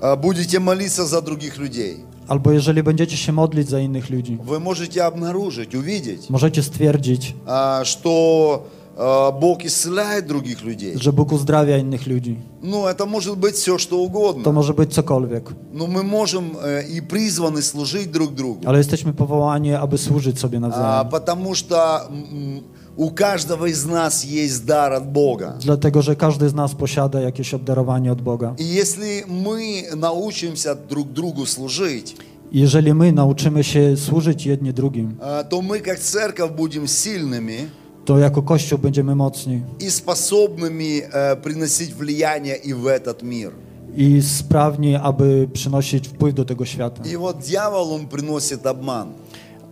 A: э, будете молиться за других людей.
B: Albo jeżeli będziecie się modlić za innych ludzi,
A: вы можете обнаружить, увидеть,
B: możecie stwierdzić,
A: а, что а, Бог исцеляет других людей.
B: że Bóg uzdrawia innych ludzi.
A: Ну, это может быть все, что
B: To
A: угодно.
B: może być cokolwiek,
A: Но мы можем э, и призваны служить друг другу.
B: ale jesteśmy powołani, aby służyć sobie
A: А,
B: nawzajem.
A: потому что м, у каждого из нас есть дар от Бога.
B: Dlatego, że każdy z nas posiada jakieś obdarowanie od Boga.
A: И если мы научимся друг другу служить,
B: I Jeżeli my nauczymy się służyć jedni drugim,
A: а, то мы как церковь будем сильными
B: to jako Kościół będziemy mocni
A: и способными э, приносить влияние и в этот мир.
B: i sprawni, aby przynosić wpływ do tego świata.
A: И вот дьявол, он приносит обман.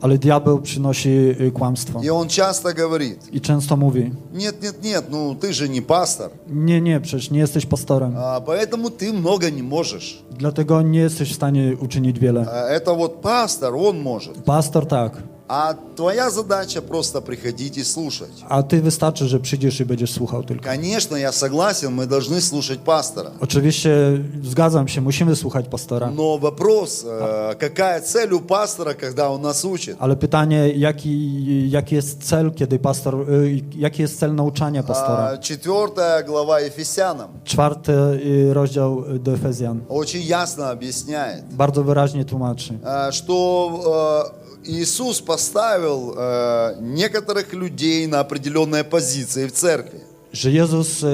B: Ale diabeł przynosi y, kłamstwo
A: И он часто говорит,
B: i często mówi:
A: нет, нет, нет, ну ты же не пастор,
B: Nie, nie, przecież nie jesteś pastorem,
A: а, поэтому ты много не możешь.
B: dlatego nie jesteś w stanie uczynić wiele.
A: А, Это вот пастор, он может.
B: Pastor tak,
A: А твоя задача просто приходить и слушать.
B: a ty wystarczy, że przyjdziesz i będziesz słuchał tylko.
A: Конечно, я согласен, мы должны слушать пастора.
B: Oczywiście zgadzam się, musimy słuchać pastora,
A: Но вопрос, э, какая цель у пастора, когда он нас учит?
B: ale pytanie, jaki, jaki jest cel, kiedy pastor, y, jaki jest cel nauczania pastora?
A: А, Четвертая глава Ефесянам
B: Czwarty y, rozdział do Efezjan
A: очень ясно объясняет,
B: bardzo wyraźnie tłumaczy,
A: э, что э, Иисус поставил э, некоторых людей на определенные позиции в церкви.
B: że Jezus y,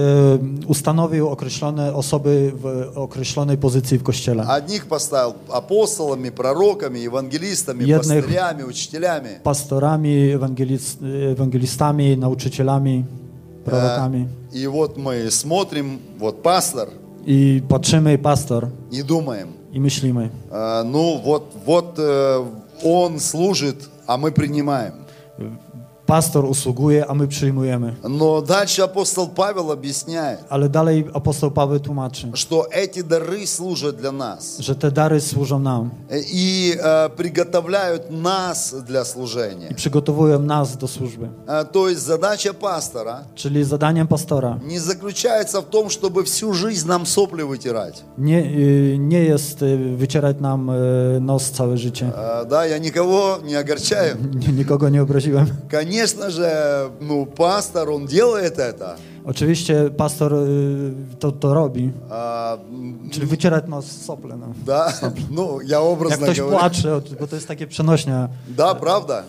B: ustanowił określone osoby w określonej pozycji w Kościele.
A: Одних поставил апостолами, пророками, евангелистами,
B: Jednych-
A: пастырями, учителями.
B: Pastorami, ewangelis- ewangelistami, nauczycielami, prorokami.
A: И вот мы смотрим, вот пастор,
B: I patrzymy, pastor,
A: и думаем,
B: i myślimy,
A: э, ну вот, вот э, он служит, а мы принимаем.
B: pastor usługuje, a my przyjmujemy.
A: Но дальше апостол Павел объясняет,
B: Ale dalej apostoł Paweł tłumaczy,
A: что эти дары служат для нас
B: że te dary służą nam
A: и э, приготовляют нас для
B: i
A: служения.
B: przygotowują nas do służby.
A: Э, То есть задача пастора
B: Czyli zadaniem pastora
A: не заключается в том, чтобы всю жизнь нам сопли вытирать.
B: nie, y, nie jest y, wycierać nam y, nos całe życie.
A: Э, Да, я никого не огорчаю.
B: Nie- Nikogo nie obraziłem.
A: Конечно же, ну, пастор, он делает это.
B: Oczywiście pastor y, to, to robi,
A: А, м,
B: czyli wycierać nos z sople. No.
A: Да, ну, я
B: Jak
A: образно
B: ktoś
A: говорю.
B: płacze, o- bo to jest takie przenośnia.
A: Да, правда.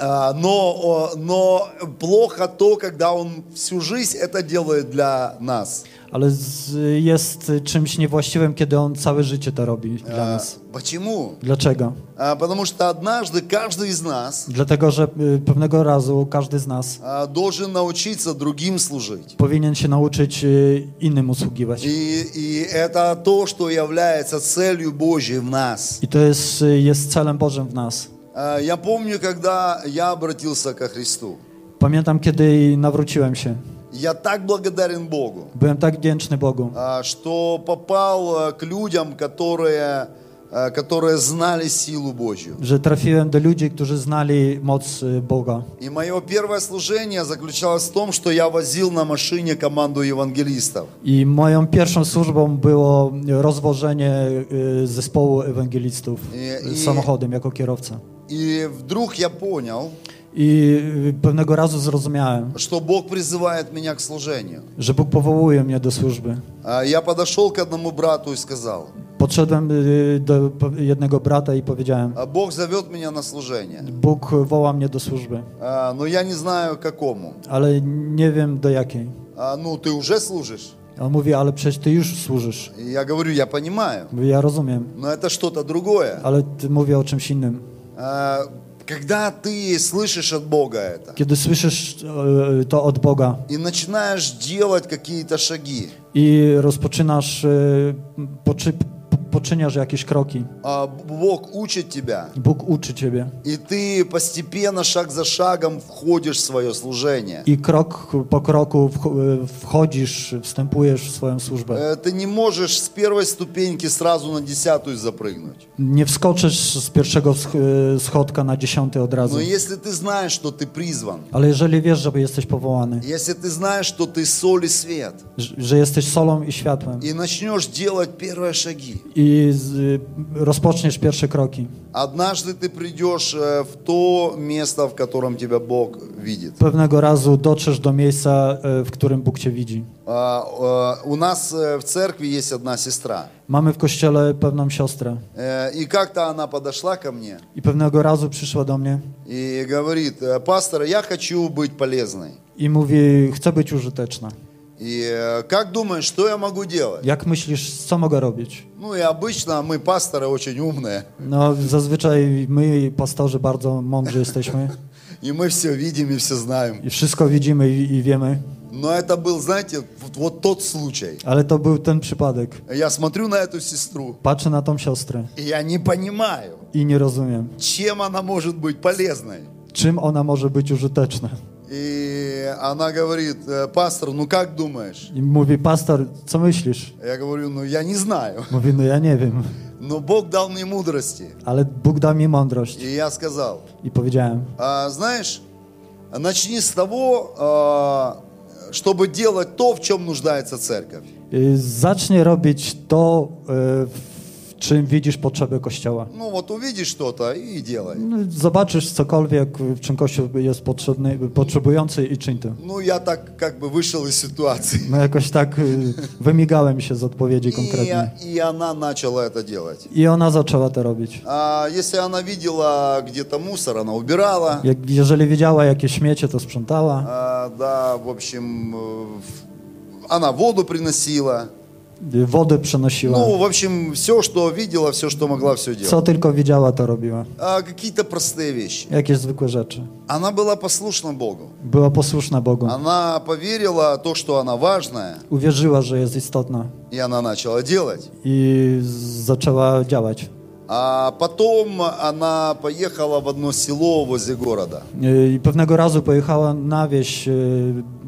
A: А, Но, о, но плохо то, когда он всю жизнь это делает для нас.
B: Ale z, jest czymś niewłaściwym, kiedy on całe życie to robi dla
A: А,
B: nas.
A: Почему?
B: Dlaczego?
A: А, Потому что однажды каждый из нас
B: Dlatego, że y, pewnego razu każdy z nas
A: а, должен научиться другим служить.
B: powinien się nauczyć y, innym usługiwać.
A: И, и это то, что является целью Божьей в нас.
B: I to jest, y, jest celem Bożym w nas.
A: А, Я помню, когда я обратился ко Христу.
B: Pamiętam, kiedy nawróciłem się.
A: Я так благодарен Богу,
B: Byłem tak wdzięczny Bogu,
A: а, что попал э, к людям, которые, э, которые знали силу Божью.
B: że trafiłem do ludzi, którzy znali moc y, Boga.
A: И мое первое служение заключалось в том, что я возил на машине команду евангелистов.
B: I moją pierwszą służbą było rozwożenie y, zespołu ewangelistów
A: I-
B: y,
A: i-
B: samochodem jako kierowca.
A: И вдруг я понял,
B: I y, pewnego razu zrozumiałem,
A: что Бог призывает меня к служению.
B: że Bóg powołuje mnie do służby.
A: А Я подошел к одному брату и сказал,
B: Podszedłem y, do po- jednego brata i powiedziałem:
A: «А Бог зовет меня на служение,
B: Bóg woła mnie do służby,
A: А, но я не znаю к какому.
B: ale nie wiem do jakiej.
A: А, Ну, ты уже служишь?
B: A On mówi: Ale przecież ty już służysz.
A: И Я говорю, я понимаю,
B: Mówię, ja rozumiem,
A: но это что-то другое.
B: ale ty mówię o czymś innym.
A: А, Когда ты слышишь от Бога это
B: Kiedy słyszysz y, to od Boga,
A: и начинаешь делать какие-то шаги,
B: i rozpoczynasz, y, poczy, po- poczyniasz jakieś kroki.
A: а, Бог учит тебя,
B: Bóg uczy ciebie
A: и ты постепенно, шаг за шагом входишь в свое служение.
B: i krok po kroku wch- e, wchodzisz, wstępujesz w swoją służbę.
A: Э, Ты не можешь с первой ступеньки сразу на десятую запрыгнуть.
B: Nie wskoczysz z pierwszego sch- y, schodka na dziesiąty od razu,
A: Но если ты знаешь, что ты призван,
B: ale jeżeli wiesz, że jesteś powołany,
A: если ты знаешь, что ты соль и свет,
B: ż- że jesteś solą i światłem
A: и начнешь делать первые шаги,
B: i z, e, rozpoczniesz pierwsze kroki.
A: Однажды ты придешь э, в то место, в котором тебя Бог видит.
B: Pewnego razu dotrzesz do miejsca, e, w którym Bóg cię widzi.
A: А, э, У нас э, в церкви есть одна сестра.
B: Mamy w kościele pewną siostrę
A: Э, И как-то она подошла ко мне
B: i pewnego razu przyszła do mnie
A: и говорит, «Э, пастор, я хочу быть полезной.
B: i mówi, chcę być użyteczna.
A: И э, как думаешь, что я могу делать?
B: Jak myślisz, co mogę robić?
A: Ну и обычно мы, пасторы, очень умные.
B: No, zazwyczaj my, pastorzy, bardzo mądrzy jesteśmy
A: И мы все видим и все знаем.
B: i wszystko widzimy i, i wiemy,
A: Но это был, знаете, вот, вот тот случай.
B: ale to był ten przypadek.
A: Я смотрю на эту сестру,
B: Patrzę na tą siostrę
A: и я не понимаю,
B: i nie rozumiem,
A: чем она может быть полезной.
B: czym ona może być użyteczna.
A: И она говорит, «Э, пастор, ну как думаешь?
B: I mówi, pastor, co myślisz?
A: Я говорю, ну я не знаю.
B: Mówi, no ja nie wiem,
A: Но Бог dał мне мудрости.
B: ale Bóg da mi mądrość.
A: И я сказал,
B: I powiedziałem,
A: «А, знаешь, начни с того, а, чтобы делать то, в чем нуждается церковь.
B: y, zacznie robić to, y, w czym widzisz potrzebę Kościoła.
A: Ну вот увидишь что-то и делай.
B: No, Zobaczysz cokolwiek, w czym Kościół jest potrzebny, potrzebujący i czyń to.
A: Ну я так как бы вышел из ситуации.
B: No jakoś tak y, wymigałem się z odpowiedzi konkretnie.
A: И, и она начала это делать.
B: I ona zaczęła to robić.
A: А если она видела где-то мусор, она убирала.
B: Jak, jeżeli widziała jakieś śmiecie, to sprzątała.
A: А, да, в общем, э, в- она воду приносила.
B: y, Wodę przenosiła.
A: Ну, в общем, все, что видела, все, что могла, все
B: Co
A: делала.
B: tylko widziała, to robiła.
A: А, какие-то простые вещи.
B: Jakieś zwykłe rzeczy.
A: Она была послушна Богу.
B: Była posłuszna Bogu.
A: Она поверила то, что она важная,
B: Uwierzyła, że jest istotna
A: и она начала делать.
B: i z- zaczęła działać.
A: А потом она поехала в одно село возле города.
B: Y, I pewnego razu pojechała na wieś y, w-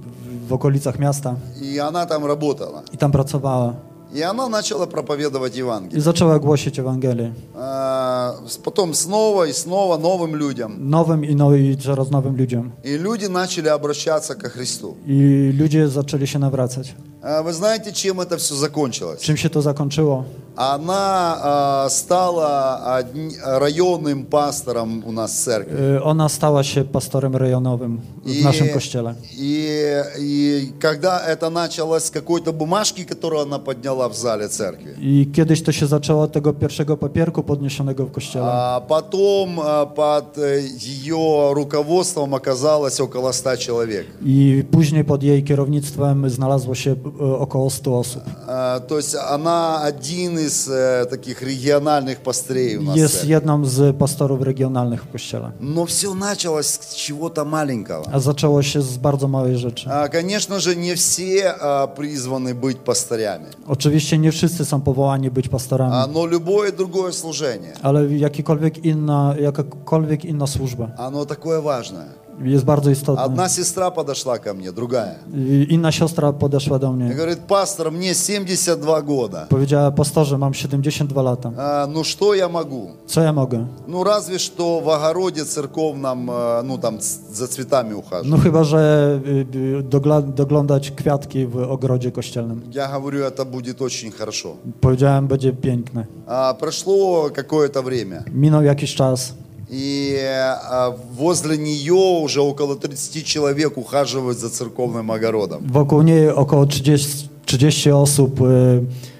B: w okolicach miasta
A: И она там работала.
B: i tam pracowała.
A: И она начала проповедовать
B: I
A: Евангелие.
B: zaczęła głosić Ewangelię.
A: А, с- потом снова и снова новым людям.
B: nowym i, no, i coraz nowym ludziom.
A: И люди начали обращаться ко Христу.
B: I ludzie zaczęli się nawracać.
A: А вы знаете, чем это все закончилось?
B: Czym się to zakończyło?
A: Она а, стала одни- районным пастором у нас в церкви.
B: Y, Ona stała się pastorem rejonowym w naszym kościele.
A: и, и когда это началось с какой-то бумажки, которую она подняла в зале церкви,
B: I kiedyś to się zaczęło od tego pierwszego papierku podniesionego w kościele.
A: а потом а, под э, ее руководством оказалось около ста человек.
B: I później pod jej kierownictwem znalazło się y, około 100 osób.
A: А, то есть она один из э, таких региональных пастырей у нас. в
B: Jest
A: церкви.
B: jedną z pastorów regionalnych w kościele.
A: Но все началось с чего-то маленького.
B: A zaczęło się z bardzo małej rzeczy.
A: А, Конечно же, не все а, призваны быть пастырями,
B: Oczywiście nie wszyscy są powołani być
A: А,
B: pastorami,
A: но любое другое служение,
B: ale jakikolwiek inna, jakakolwiek inna służba
A: оно такое важное.
B: jest bardzo istotna.
A: Одна сестра подошла ко мне, другая.
B: I Inna siostra podeszła do
A: И
B: mnie.
A: говорит, пастор, мне 72 года.
B: Powiedziała, pastorze, mam 72 lata.
A: А, ну что я могу?
B: Co ja mogę?
A: Ну разве что в огороде церковном, э, ну там ц- за цветами ухаживать.
B: No chyba, że y, y, dogla- doglądać kwiatki w ogrodzie kościelnym.
A: Я говорю, это будет очень хорошо.
B: Powiedziałem, będzie piękne.
A: А, прошло какое-то время.
B: Minął jakiś czas
A: И э, возле нее уже около 30 человек ухаживают за церковным огородом.
B: Wokół niej około 30, 30 osób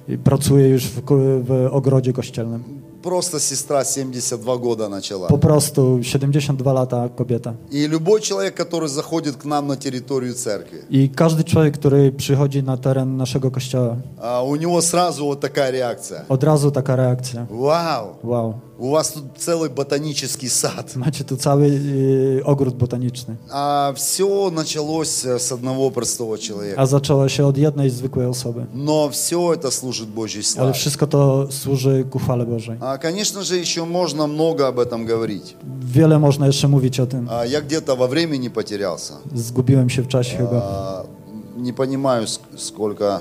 B: y, pracuje już w, ko- w ogrodzie kościelnym.
A: Просто сестра 72 года начала.
B: Po prostu 72 lata kobieta.
A: И любой человек, который заходит к нам на территорию церкви,
B: I każdy człowiek, który przychodzi na teren naszego kościoła,
A: а, у него сразу вот такая реакция.
B: od razu taka reakcja.
A: Вау!
B: Wow,
A: У вас тут целый ботанический сад.
B: macie tu cały y, ogród botaniczny.
A: А все началось э, с одного простого человека.
B: A zaczęło się od jednej zwykłej osoby.
A: Но все это служит Божьей
B: Ale
A: славе.
B: wszystko to służy ku chwale Bożej.
A: А, конечно же, еще можно много об этом говорить.
B: Wiele można jeszcze mówić o tym.
A: А, я где-то во времени потерялся.
B: Zgubiłem się w czasie chyba.
A: А, не понимаю, ск- сколько...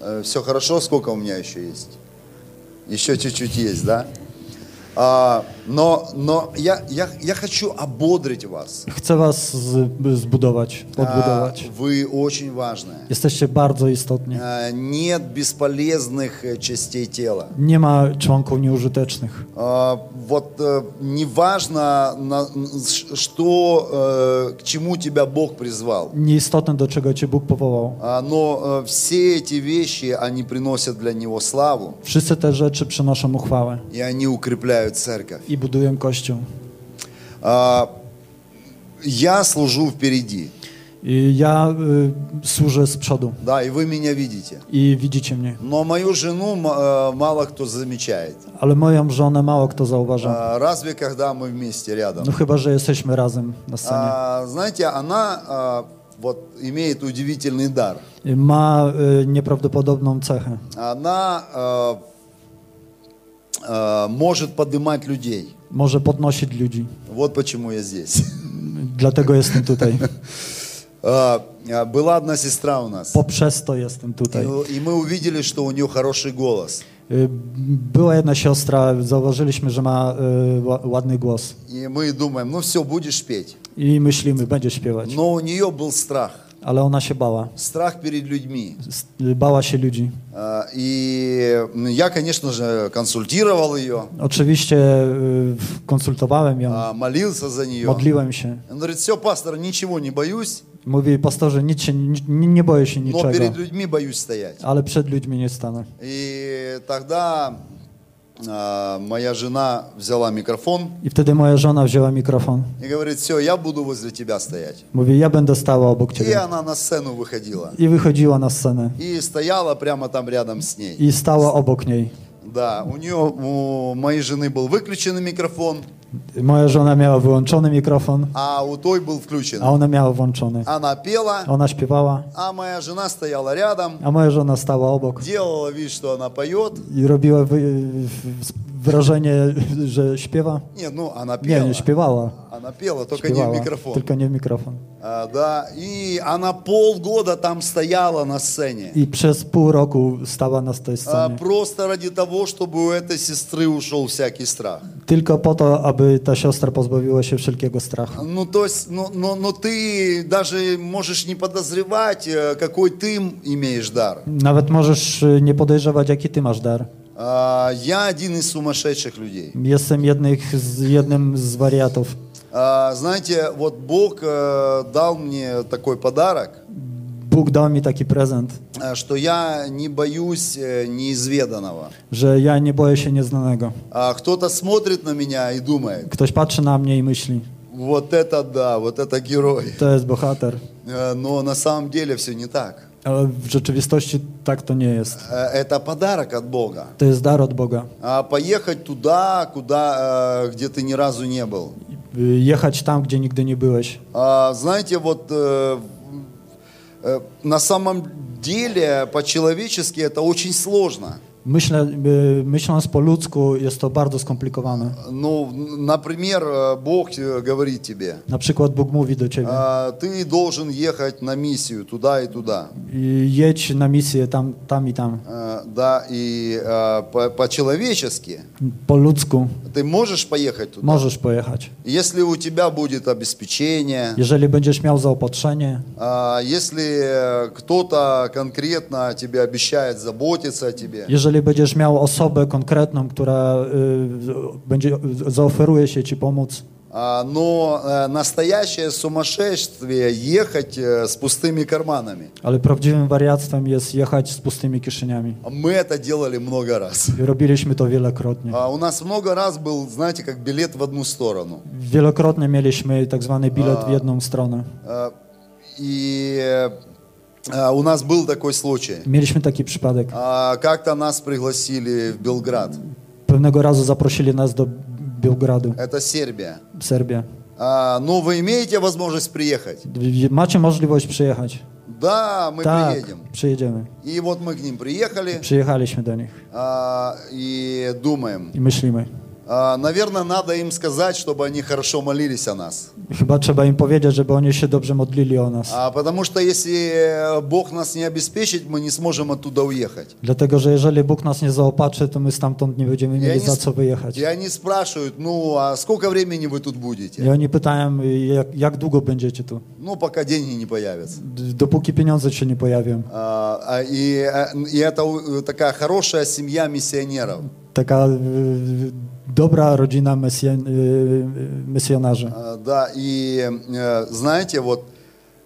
A: э, все хорошо, сколько у меня еще есть? Еще чуть-чуть есть, да? А, Но, но я, я, я хочу ободрить вас.
B: Chcę was z- zbudować, odbudować.
A: А, Вы очень важны.
B: Jesteście bardzo istotni.
A: А, Нет бесполезных э, частей тела.
B: Nie ma członków nieużytecznych.
A: А, Вот э, неважно, на- н- ш- что, э, к чему тебя Бог призвал,
B: Nieistotne, do czego cię Bóg powołał.
A: А, но э, все эти вещи, они приносят для Него славу,
B: Wszyscy te rzeczy przynoszą uchwałę
A: и они укрепляют церковь.
B: i budują Kościół.
A: А, Я служу впереди,
B: I ja y, służę z przodu
A: да, и вы меня видите.
B: i widzicie mnie.
A: Но мою жену м- э, мало кто замечает.
B: Ale moją żonę mało kto zauważa.
A: А, Разве когда мы вместе рядом?
B: No chyba, że jesteśmy razem na scenie.
A: А, Знаете, она а, вот имеет удивительный дар.
B: Ma y, nieprawdopodobną cechę.
A: Она а, а, может поднимать людей.
B: Może podnosić ludzi.
A: Вот почему я здесь.
B: Dlatego jestem tutaj.
A: А, а, Была одна сестра у нас.
B: Poprzez to jestem
A: И
B: tutaj.
A: и мы увидели, что у нее хороший голос.
B: Y, Była jedna siostra, zauważyliśmy, że ma y, ła- ładny głos.
A: И мы думаем, ну все, будешь петь.
B: I myślimy, będzie śpiewać.
A: Но у нее был страх.
B: Ale ona się bała.
A: Страх перед людьми.
B: S- Bała się ludzi.
A: А, И м, я, конечно же, консультировал ее,
B: Oczywiście y, konsultowałem ją,
A: а, молился за нее.
B: modliłem się.
A: Он говорит, все, пастор, ничего не боюсь,
B: Mówi, pastorze, nic się, ni- nie, nie boję się
A: но
B: niczego,
A: перед людьми боюсь стоять.
B: ale przed ludźmi nie stanę.
A: И тогда а, моя жена взяла микрофон
B: I wtedy moja żona wzięła mikrofon.
A: и говорит, все, я буду возле тебя стоять.
B: Mówi, ja będę stała obok
A: И
B: ciebie.
A: она на сцену выходила.
B: I wychodziła na scenę.
A: И stoяла прямо там рядом с ней.
B: I stała obok niej.
A: Да, у нее, у моей жены был выключен микрофон,
B: Moja żona miała wyłączony mikrofon,
A: а у той был включен.
B: a ona miała włączony.
A: Она пела,
B: Ona śpiewała,
A: а моя жена стояла рядом,
B: a moja żona stała obok
A: делала вид, что она поет.
B: i robiła wy, wrażenie, że śpiewa.
A: Нет, ну она
B: Nie,
A: пела.
B: nie śpiewała.
A: Она пела, только не в
B: śpiewała
A: микрофон.
B: tylko nie w mikrofon.
A: А, да, и она полгода там стояла на сцене.
B: I przez pół roku stała na tej
A: А,
B: scenie.
A: просто ради того, чтобы у этой сестры ушел всякий страх.
B: Tylko po to, aby ta siostra pozbawiła się wszelkiego strachu.
A: Ну, то есть, ну, ну, ну, ты даже можешь не подозревать, э, какой ты м- имеешь дар.
B: Nawet możesz y, nie podejrzewać, jaki ty masz dar.
A: А, я один из сумасшедших людей.
B: Jestem jednych z, jednym z wariatów.
A: А, знаете, вот Бог э, дал мне такой подарок,
B: Bóg dał mi taki prezent,
A: э, что я не боюсь э, неизведанного.
B: że ja nie boję się nieznanego.
A: А, кто-то смотрит на меня и думает,
B: Ktoś patrzy na mnie i myśli,
A: вот это да, вот это герой.
B: to jest bohater.
A: Э, Но на самом деле все не так.
B: Ale w rzeczywistości tak to nie jest.
A: Э, Это подарок от Бога.
B: To jest dar od Boga.
A: А Поехать туда, куда, э, где ты ни разу не был.
B: Y, Jechać tam, gdzie nigdy nie byłeś.
A: А, Знаете, вот э, э, на самом деле по-человечески это очень сложно.
B: Myślę, y, myśląc po ludzku, jest to bardzo skomplikowane.
A: Ну, например, э, Бог э, говорит тебе,
B: Na przykład Bóg mówi do ciebie,
A: «А, ты должен ехать на миссию туда и туда.
B: y, jedź na misję tam, tam i tam.
A: Э, Да, и э, по- по-человечески
B: Po ludzku
A: ты możешь поехать туда.
B: możesz pojechać.
A: Если у тебя будет обеспечение,
B: Jeżeli będziesz miał zaopatrzenie,
A: А, Если э, кто-то конкретно тебе обещает заботиться о тебе,
B: jeżeli będziesz miał osobę konkretną, która y, będzie, zaoferuje się ci pomóc,
A: а, но э, настоящее сумасшествие ехать э, с пустыми карманами.
B: ale prawdziwym wariactwem jest jechać z pustymi kieszeniami.
A: Мы это делали много раз.
B: I robiliśmy to wielokrotnie.
A: А, У нас много раз был, знаете, как билет в одну сторону.
B: Wielokrotnie mieliśmy tak zwany bilet w jedną stronę.
A: А, И э, а, у нас был такой случай.
B: Mieliśmy taki przypadek.
A: А, Как-то нас пригласили в Белград,
B: Pewnego razu zaprosili nas do Białgradu,
A: это Сербия.
B: Serbia.
A: А, Ну, вы имеете возможность приехать?
B: Macie możliwość przyjechać.
A: Да, мы
B: Tak,
A: приедем.
B: przyjedziemy.
A: И вот мы к ним приехали
B: Przyjechaliśmy do nich
A: а, и думаем,
B: i myślimy,
A: А, Наверное, надо им сказать, чтобы они хорошо молились о нас.
B: Chyba trzeba im powiedzieć, żeby oni się dobrze modlili o nas.
A: А, Потому что если э, Бог нас не обеспечит, мы не сможем оттуда уехать.
B: Dlatego, że jeżeli Bóg nas nie zaopatrzy, to my stamtąd nie będziemy mieli
A: nie,
B: za co wyjechać.
A: и они спрашивают, ну а сколько времени вы тут
B: I
A: будете?
B: oni pytają, jak, jak długo będziecie tu?
A: Ну, пока деньги не появятся.
B: D- Dopóki pieniądze się nie pojawią.
A: А, а, И, а, и это у- такая хорошая семья миссионеров.
B: Taka y, dobra rodzina mesjan, y, y, misjonarzy.
A: А, Да, и э, знаете, вот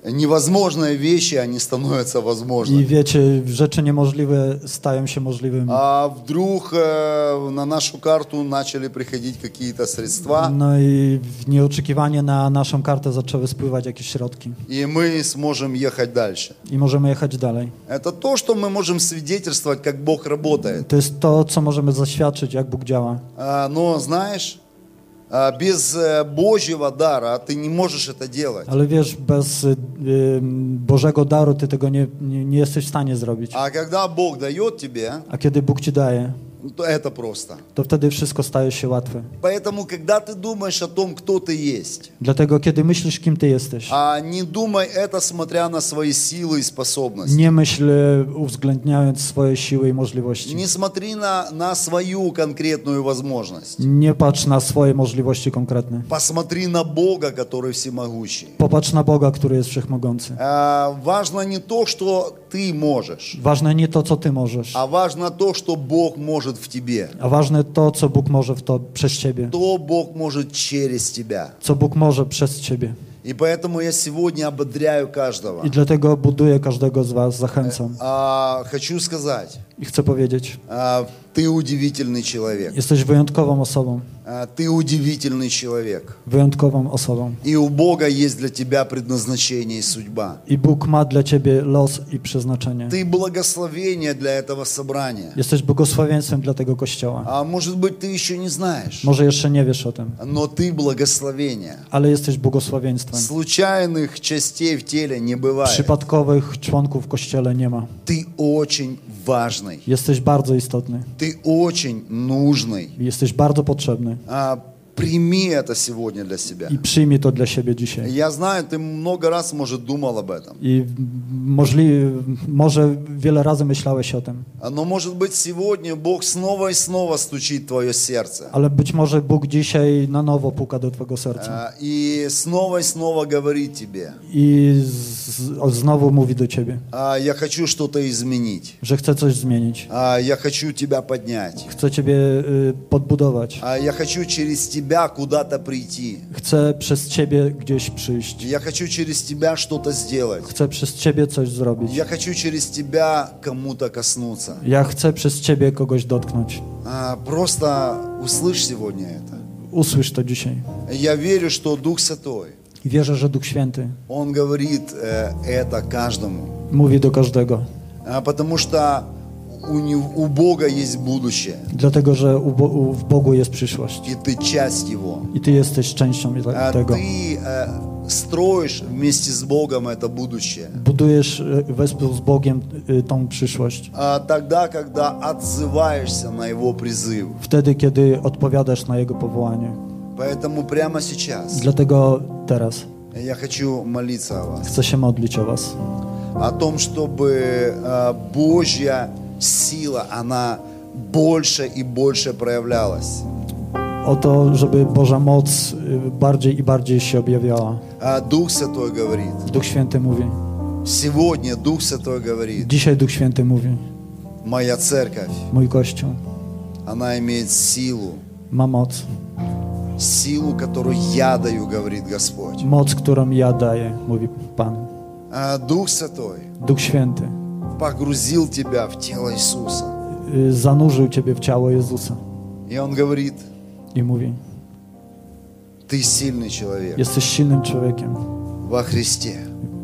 A: невозможные вещи, они становятся
B: I
A: возможными.
B: wiecie, rzeczy niemożliwe stają się możliwymi.
A: А вдруг э, на нашу карту начали приходить какие-то средства,
B: No i w- nieoczekiwanie na naszą kartę zaczęły spływać jakieś środki.
A: и мы сможем ехать дальше.
B: I możemy jechać dalej.
A: Это то, что мы можем свидетельствовать, как Бог работает.
B: To jest to, co możemy zaświadczyć, jak Bóg działa.
A: А, Но знаешь, а, без э, Божьего дара ты не можешь это делать.
B: Ale wiesz, bez y, y, Bożego daru ty tego nie, nie, nie jesteś w stanie zrobić.
A: А когда Бог дает тебе,
B: A kiedy Bóg ci daje,
A: то это просто.
B: to wtedy wszystko staje się łatwe.
A: Поэтому, когда ты думаешь о том, кто ты есть,
B: Dlatego, kiedy myślisz, kim ty jesteś,
A: а не думай это, смотря на свои sилы и способности.
B: nie myśl y, uwzględniając swoje siły i możliwości.
A: Не смотри на, на свою konкретную возможность.
B: Nie patrz na swoje możliwości konkretne.
A: Посмотри на Бога, который всемогущий.
B: Popatrz na Boga, który jest wszechmogący.
A: А, Важно не то, что ты можешь,
B: Ważne nie to, co ty możesz,
A: а важно то, что Бог может в тебе.
B: a ważne to, co Bóg może w to przez ciebie.
A: То Бог может через тебя.
B: Co Bóg może przez ciebie.
A: И поэтому я сегодня ободряю каждого.
B: I dlatego buduję każdego z was, zachęcam.
A: А, хочу сказать,
B: I chcę powiedzieć,
A: а, ты удивительный человек.
B: jesteś wyjątkową osobą.
A: А, ты удивительный человек.
B: wyjątkową osobą.
A: И у Бога есть для тебя предназначение и судьба.
B: I Bóg ma dla ciebie los i przeznaczenie.
A: Ты благословение для этого собрания.
B: Jesteś błogosławieństwem dla tego kościoła.
A: А может быть, ты еще не знаешь,
B: Może jeszcze nie wiesz o tym,
A: но ты благословение.
B: ale jesteś błogosławieństwem.
A: Случайных частей в теле не бывает.
B: Przypadkowych członków w kościele nie ma.
A: Ты очень важный.
B: Jesteś bardzo istotny.
A: Ты очень нужный.
B: Jesteś bardzo potrzebny.
A: А, прими это сегодня для себя.
B: I przyjmij to dla siebie dzisiaj.
A: Я знаю, ты много раз, может, думал об этом.
B: I możli, może wiele razy myślałeś o tym,
A: А, Но, может быть, сегодня Бог снова и снова stучит твое сердце.
B: ale być może Bóg dzisiaj na nowo puka do twojego serca.
A: А, И снова и снова говорит тебе,
B: I z, o, znowu mówi do ciebie,
A: а, я хочу что-то изменить.
B: że chce coś zmienić.
A: А, Я хочу тебя поднять.
B: Chcę Ciebie y, podbudować.
A: А, Я хочу через тебя куда-то прийти.
B: Chcę przez Ciebie gdzieś przyjść.
A: Я хочу через тебя что-то сделать.
B: Chcę przez Ciebie coś zrobić.
A: Я хочу через тебя кому-то коснуться.
B: Ja chcę przez Ciebie kogoś dotknąć.
A: А, Просто услышь сегодня это.
B: Usłysz to dzisiaj.
A: Я верю, что Дух Святой,
B: I wierzę, że Duch Święty
A: Он говорит э, это каждому.
B: mówi do każdego.
A: А, Потому что у, Нев- у Бога есть будущее,
B: Dlatego, że u Bo- u, w Bogu jest przyszłość.
A: и ты часть Его.
B: I Ty jesteś częścią i
A: А
B: te- tego.
A: ты э, строишь вместе с Богом это будущее.
B: Budujesz y, wespół z Bogiem y, tą przyszłość.
A: А, тогда, когда отзываешься на Его призыв.
B: Wtedy, kiedy odpowiadasz na Jego powołanie.
A: Поэтому прямо сейчас
B: Dlatego teraz
A: я хочу молиться о вас.
B: chcę się modlić o Was.
A: О том, чтобы э, Божья сила, она больше и больше проявлялась.
B: o to, żeby Boża moc y, bardziej i bardziej się objawiała.
A: А Дух Святой говорит,
B: Duch Święty mówi.
A: сегодня Дух Святой говорит,
B: Dzisiaj Duch Święty mówi.
A: моя церковь,
B: Mój Kościół
A: она имеет силу.
B: ma moc.
A: Силу, которую я даю, говорит Господь.
B: Moc, którą ja daję, mówi Pan.
A: А Дух Святой
B: Duch Święty
A: погрузил тебя в тело Иисуса.
B: y, zanurzył Ciebie w ciało Jezusa
A: И Он говорит,
B: i mówi,
A: ты сильный человек
B: jesteś silnym człowiekiem
A: во Христе.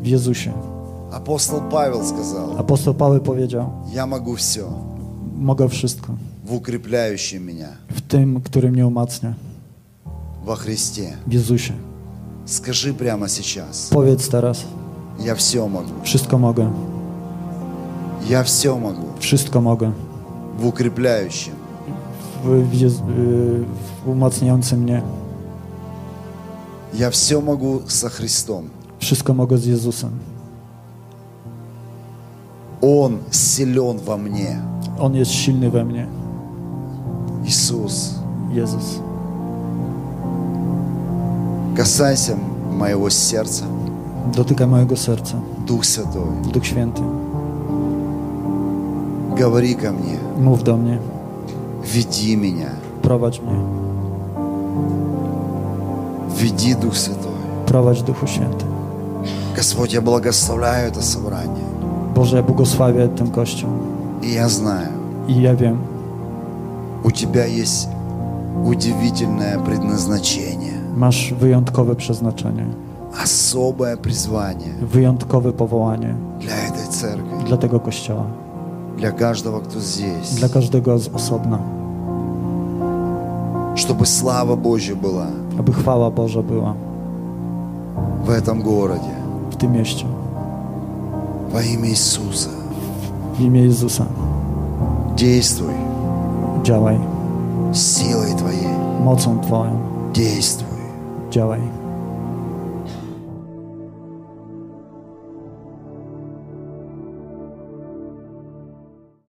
B: w Jezusie.
A: Апостол Павел сказал,
B: Apostoł Paweł powiedział,
A: я могу все
B: mogę wszystko
A: в укрепляющем меня
B: w tym, który mnie umacnia,
A: во Христе.
B: w Jezusie.
A: Скажи прямо сейчас,
B: Powiedz teraz,
A: я все могу,
B: wszystko mogę,
A: я все могу
B: wszystko mogę
A: в укрепляющем
B: w w, jest, y, w umacniającym mnie.
A: Я все могу со Христом.
B: Wszystko mogę z Jezusem.
A: Он силен во мне.
B: On jest silny we mnie.
A: Иисус,
B: Jezus.
A: касайся моего сердца,
B: Dotyka mojego serca.
A: Дух Святой.
B: Duch Święty.
A: Говори ко мне,
B: Mów do mnie.
A: веди меня,
B: Prowadź mnie.
A: веди Дух Святой.
B: Prowadź Duchu Święty.
A: Господь, я благословляю это собрание.
B: Boże, ja błogosławię ten Kościół.
A: И я знаю,
B: I ja wiem,
A: у тебя есть удивительное предназначение,
B: masz wyjątkowe przeznaczenie,
A: особое призвание
B: wyjątkowe powołanie
A: для этой церкви,
B: dla tego Kościoła.
A: для каждого, кто здесь,
B: Dla każdego z osobna.
A: чтобы слава Божья была
B: Aby chwała Boża była
A: в этом городе.
B: w tym mieście.
A: Во имя Иисуса
B: W imię Jezusa.
A: действуй
B: Działaj.
A: силой Твоей,
B: Mocą Twoją.
A: действуй.
B: Działaj.